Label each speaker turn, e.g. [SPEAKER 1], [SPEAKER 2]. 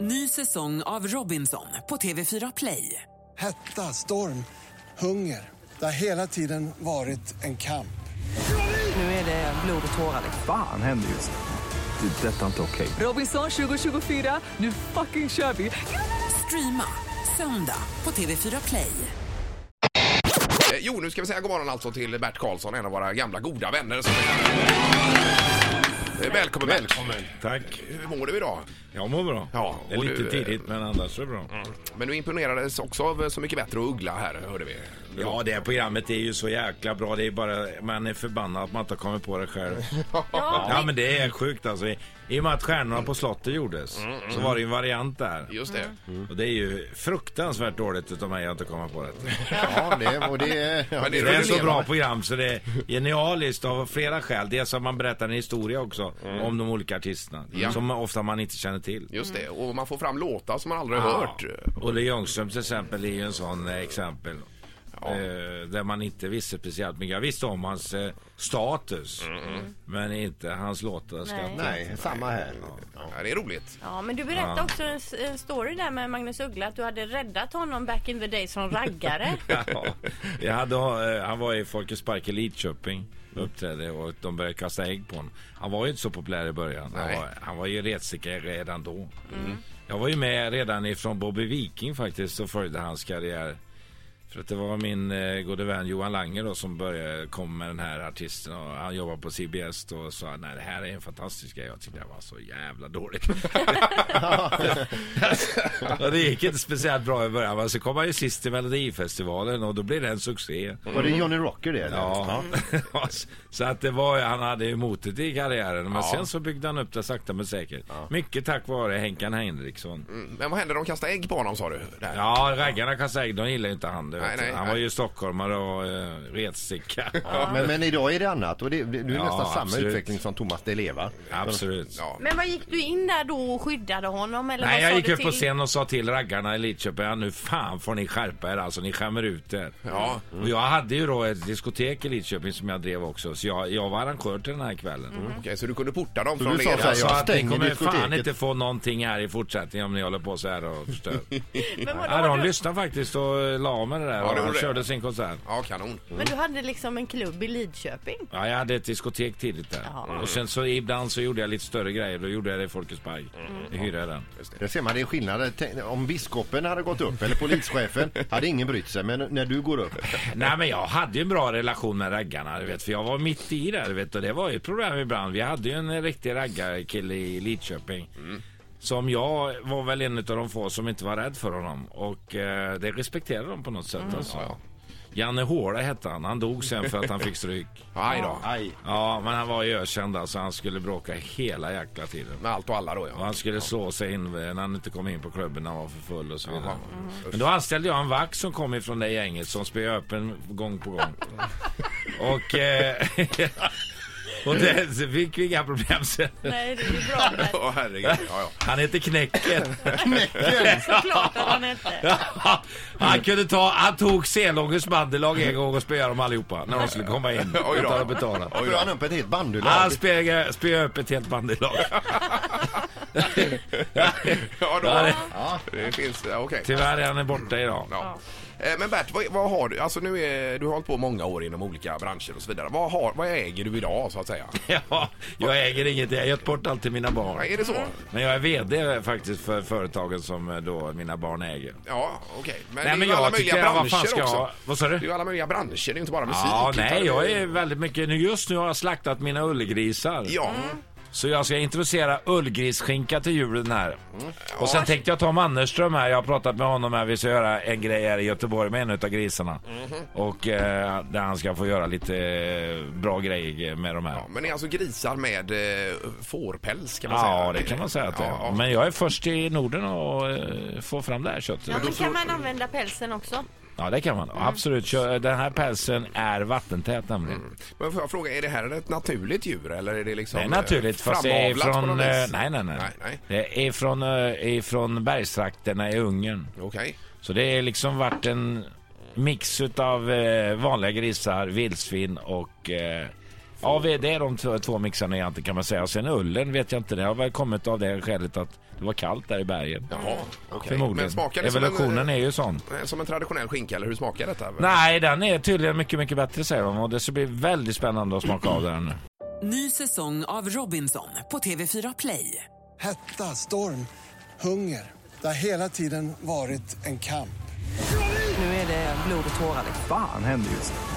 [SPEAKER 1] Ny säsong av Robinson på TV4 Play.
[SPEAKER 2] Hetta, storm, hunger. Det har hela tiden varit en kamp.
[SPEAKER 1] Nu är det blod och tårar.
[SPEAKER 3] Fan händer just nu. Det. är Detta är inte okej.
[SPEAKER 1] Robinson 2024, nu fucking kör vi! Streama söndag på TV4 Play.
[SPEAKER 4] Eh, Jo, nu ska vi säga god morgon alltså till Bert Karlsson, en av våra gamla goda vänner. Som Eh, Välkommen Bert! Välkommen.
[SPEAKER 5] Tack.
[SPEAKER 4] Hur mår du idag?
[SPEAKER 5] Jag mår bra.
[SPEAKER 4] Ja,
[SPEAKER 5] det är
[SPEAKER 4] och
[SPEAKER 5] lite
[SPEAKER 4] du, eh,
[SPEAKER 5] tidigt men annars är det bra.
[SPEAKER 4] Men du imponerades också av eh, Så mycket bättre och Uggla här, hörde vi.
[SPEAKER 5] Ja, det här programmet är ju så jäkla bra. Det är bara, man är förbannad att man inte har kommit på det själv. Ja, men det är sjukt alltså. I, I och med att Stjärnorna på slottet gjordes
[SPEAKER 4] Mm,
[SPEAKER 5] så var det ju en variant där.
[SPEAKER 4] Just det.
[SPEAKER 5] Och det är ju fruktansvärt dåligt utav mig att inte komma på det.
[SPEAKER 6] Ja, det, och det, ja,
[SPEAKER 4] Men det
[SPEAKER 5] Det
[SPEAKER 4] är
[SPEAKER 5] är ett så
[SPEAKER 4] rutinerat.
[SPEAKER 5] bra program så det är genialiskt av flera skäl. Dels att man berättar en historia också om de olika artisterna.
[SPEAKER 4] Mm. Ja.
[SPEAKER 5] Som ofta man inte känner till.
[SPEAKER 4] Just det. Och man får fram låtar som man aldrig
[SPEAKER 5] Ja.
[SPEAKER 4] har hört. Eh,
[SPEAKER 5] Olle Ljungström till exempel är ju en sån eh, exempel. Eh, där man inte visste speciellt mycket. Jag visste om hans eh, status. Men inte hans låtar. Ska
[SPEAKER 7] Nej.
[SPEAKER 6] Nej, samma här.
[SPEAKER 4] Ja, det är roligt.
[SPEAKER 7] Ja, men du berättade också en, s- en story där med Magnus Uggla att du hade räddat honom back in the day som raggare.
[SPEAKER 5] Ja. Jag hade, eh, han var i Folkets Park i Lidköping och uppträdde och de började kasta ägg på honom. Han var ju inte så populär i början. Han
[SPEAKER 4] Nej.
[SPEAKER 5] var, han var ju retsticka redan då. Jag var ju med redan ifrån Bobby Viking faktiskt och följde hans karriär. För att det var min eh, gode vän Johan Lange då som började komma med den här artisten och han jobbade på CBS då och sa nej det här är en fantastisk grej. Jag tyckte det var så jävla dåligt. och det gick inte speciellt bra i början men så kom han ju sist i Melodifestivalen och då blev det en succé.
[SPEAKER 6] Var det Johnny Rocker det? eller?
[SPEAKER 5] Mm. Ja, så att det var, han hade ju motet i karriären men sen så byggde han upp det sakta men säkert. Mycket tack vare Henkan Henriksson.
[SPEAKER 4] Mm. Men vad hände? De kastade ägg på honom, sa du? Där.
[SPEAKER 5] Ja, raggarna kan säga, de gillar ju inte han du vet.
[SPEAKER 4] Nej, nej,
[SPEAKER 5] Han
[SPEAKER 4] nej.
[SPEAKER 5] var ju stockholmare och eh, retsticka.
[SPEAKER 6] Men, men idag är det annat och det, det, det är
[SPEAKER 5] Ja,
[SPEAKER 6] nästan samma
[SPEAKER 5] absolut.
[SPEAKER 6] utveckling som Thomas Di Leva.
[SPEAKER 5] Absolut.
[SPEAKER 4] Ja.
[SPEAKER 7] Men vad gick du in där då och skyddade honom? Eller
[SPEAKER 5] Nej,
[SPEAKER 7] vad
[SPEAKER 5] jag
[SPEAKER 7] sa
[SPEAKER 5] gick
[SPEAKER 7] du
[SPEAKER 5] upp på
[SPEAKER 7] till-
[SPEAKER 5] scen och sa till raggarna i Lidköping, "Ja, nu fan får ni skärpa er alltså, ni skämmer ut er.
[SPEAKER 4] Ja.
[SPEAKER 5] Och jag hade ju då ett diskotek i Lidköping som jag drev också, så jag, jag var arrangör till den här kvällen.
[SPEAKER 4] Okej, så du kunde porta dem
[SPEAKER 6] Så
[SPEAKER 4] från
[SPEAKER 6] du
[SPEAKER 4] det?
[SPEAKER 6] sa så här,
[SPEAKER 5] Jag sa
[SPEAKER 6] Jag
[SPEAKER 5] att ni
[SPEAKER 6] stänger
[SPEAKER 5] kommer fan
[SPEAKER 6] diskoteket.
[SPEAKER 5] inte få någonting här i fortsättningen om ni håller på så här och förstör.
[SPEAKER 7] Men, vadå,
[SPEAKER 5] ja, de
[SPEAKER 7] du,
[SPEAKER 5] lyssnade faktiskt och eh, la av med det där
[SPEAKER 4] Ja, det
[SPEAKER 5] och de
[SPEAKER 4] gjorde
[SPEAKER 5] körde
[SPEAKER 4] det.
[SPEAKER 5] sin konsert.
[SPEAKER 4] Ja, kanon.
[SPEAKER 7] men du hade liksom en klubb i Lidköping?
[SPEAKER 5] Ja, jag hade ett diskotek tidigt där.
[SPEAKER 7] Ja.
[SPEAKER 5] Och sen så ibland så gjorde jag lite större grejer. Då gjorde jag det i Folkets Park. Jag hyrde den.
[SPEAKER 6] Där ser man, det är skillnad. Tänk- Om biskopen hade gått upp eller polischefen hade ingen brytt sig. Men när du går upp.
[SPEAKER 5] Nej men jag hade ju en bra relation med raggarna du vet, för jag var mitt i det du vet och det var ju ett problem ibland. Vi hade ju en riktig raggarkille i Lidköping. Som jag var väl en av de få som inte var rädd för honom och eh, det respekterade de på något sätt
[SPEAKER 4] Mm.
[SPEAKER 5] alltså. Janne Hårda hette han, han dog sen för att han fick stryk.
[SPEAKER 4] Aj då.
[SPEAKER 6] Aj.
[SPEAKER 5] Ja men han var ju ökänd alltså, han skulle bråka hela jäkla tiden.
[SPEAKER 4] Med allt och alla då,
[SPEAKER 5] Och
[SPEAKER 4] ja.
[SPEAKER 5] han skulle slå sig in när han inte kom in på klubben när han var för full och så vidare. Men då anställde jag en vakt som kom ifrån det gänget som spöade upp en gång på gång. och eh, och det, så fick vi inga problem sen.
[SPEAKER 7] Nej, det är ju bra. men
[SPEAKER 4] Åh, herregud. Ja, ja.
[SPEAKER 5] Han hette Knäcket.
[SPEAKER 7] Såklart att han inte...
[SPEAKER 5] han kunde ta, han tog Selångens bandelag en gång och spöade dem allihopa när de skulle komma in.
[SPEAKER 4] Oj då.
[SPEAKER 5] Utan att betala.
[SPEAKER 6] Då drar han upp ett helt bandylag.
[SPEAKER 5] Han spöade spöade upp ett helt bandelag.
[SPEAKER 4] Ja,
[SPEAKER 5] Ja,
[SPEAKER 4] då.
[SPEAKER 5] det-
[SPEAKER 4] Ja, det finns... ja, Okej.
[SPEAKER 5] Tyvärr är han borta idag.
[SPEAKER 4] Ja. Eh, Men Bert, vad, vad har du? Alltså nu är, du har hållit på många år inom olika branscher och så vidare. Vad, har, vad äger du idag så att säga?
[SPEAKER 5] Ja, jag äger inget. Jag har gett bort allt till mina
[SPEAKER 4] Ja,
[SPEAKER 5] barn.
[SPEAKER 4] är det så?
[SPEAKER 5] Men jag är VD faktiskt för företagen som eh, då mina barn äger.
[SPEAKER 4] Ja, okej. Men
[SPEAKER 5] Nej,
[SPEAKER 4] det är
[SPEAKER 5] men
[SPEAKER 4] ju
[SPEAKER 5] jag
[SPEAKER 4] alla
[SPEAKER 5] tycker
[SPEAKER 4] möjliga
[SPEAKER 5] jag- vad fan
[SPEAKER 4] branscher
[SPEAKER 5] ska jag-
[SPEAKER 4] också.
[SPEAKER 5] vad sa du?
[SPEAKER 4] Det är ju alla möjliga branscher, det är ju inte bara musik.
[SPEAKER 5] Ja,
[SPEAKER 4] utan
[SPEAKER 5] nej,
[SPEAKER 4] det
[SPEAKER 5] jag
[SPEAKER 4] ju-
[SPEAKER 5] är väldigt mycket... nu- Just nu har jag slaktat mina ullgrisar.
[SPEAKER 4] Ja,
[SPEAKER 5] Så jag ska introducera ullgrisskinka till julen här.
[SPEAKER 4] Mm.
[SPEAKER 5] Och sen tänkte jag Tom Anderström här, jag har pratat med honom här. Vi ska göra en grej här i Göteborg med en utav grisarna.
[SPEAKER 4] Mhm.
[SPEAKER 5] Och eh, där han ska få göra lite eh, bra grejer med de här.
[SPEAKER 4] ja, men det är alltså grisar med eh, fårpäls kan man säga.
[SPEAKER 5] Ja, det kan man säga att det är.
[SPEAKER 4] Ja, ja.
[SPEAKER 5] Men jag är först i Norden och eh, får fram det här köttet.
[SPEAKER 7] Ja, men kan man använda pälsen också?
[SPEAKER 5] Ja, det kan man.
[SPEAKER 4] Mm.
[SPEAKER 5] Absolut. Kö- Den här pälsen är vattentät nämligen.
[SPEAKER 4] Mm. Men får jag fråga, är det här ett naturligt djur eller är det liksom
[SPEAKER 5] Det är naturligt,
[SPEAKER 4] eh,
[SPEAKER 5] fast det är
[SPEAKER 4] framavlat på
[SPEAKER 5] från...
[SPEAKER 4] något
[SPEAKER 5] eh,
[SPEAKER 4] vis?
[SPEAKER 5] Nej, nej, nej.
[SPEAKER 4] Nej, nej.
[SPEAKER 5] Det är från, eh, ifrån bergstrakterna i Ungern.
[SPEAKER 4] Okej.
[SPEAKER 5] Så det är liksom varit en mix utav eh, vanliga grisar, vildsvin och eh, Ja, vi- det är de två, två mixarna jag inte kan man säga. Och sen ullen vet jag inte. Det har väl kommit av det skälet att det var kallt där i bergen.
[SPEAKER 4] Jaha, okej. Men
[SPEAKER 5] Förmodligen.
[SPEAKER 4] smakar det som
[SPEAKER 5] Evolutionen
[SPEAKER 4] en,
[SPEAKER 5] är ju sån.
[SPEAKER 4] eh, som en traditionell skinka eller hur smakar detta?
[SPEAKER 5] Nej, den är tydligen mycket, mycket bättre säger de. Och det ska bli väldigt spännande att smaka av den nu.
[SPEAKER 1] Ny säsong av Robinson på TV4 Play.
[SPEAKER 2] Hetta, storm, hunger. Det har hela tiden varit en kamp.
[SPEAKER 1] Nu är det blod och tårar.
[SPEAKER 3] Fan händer just nu.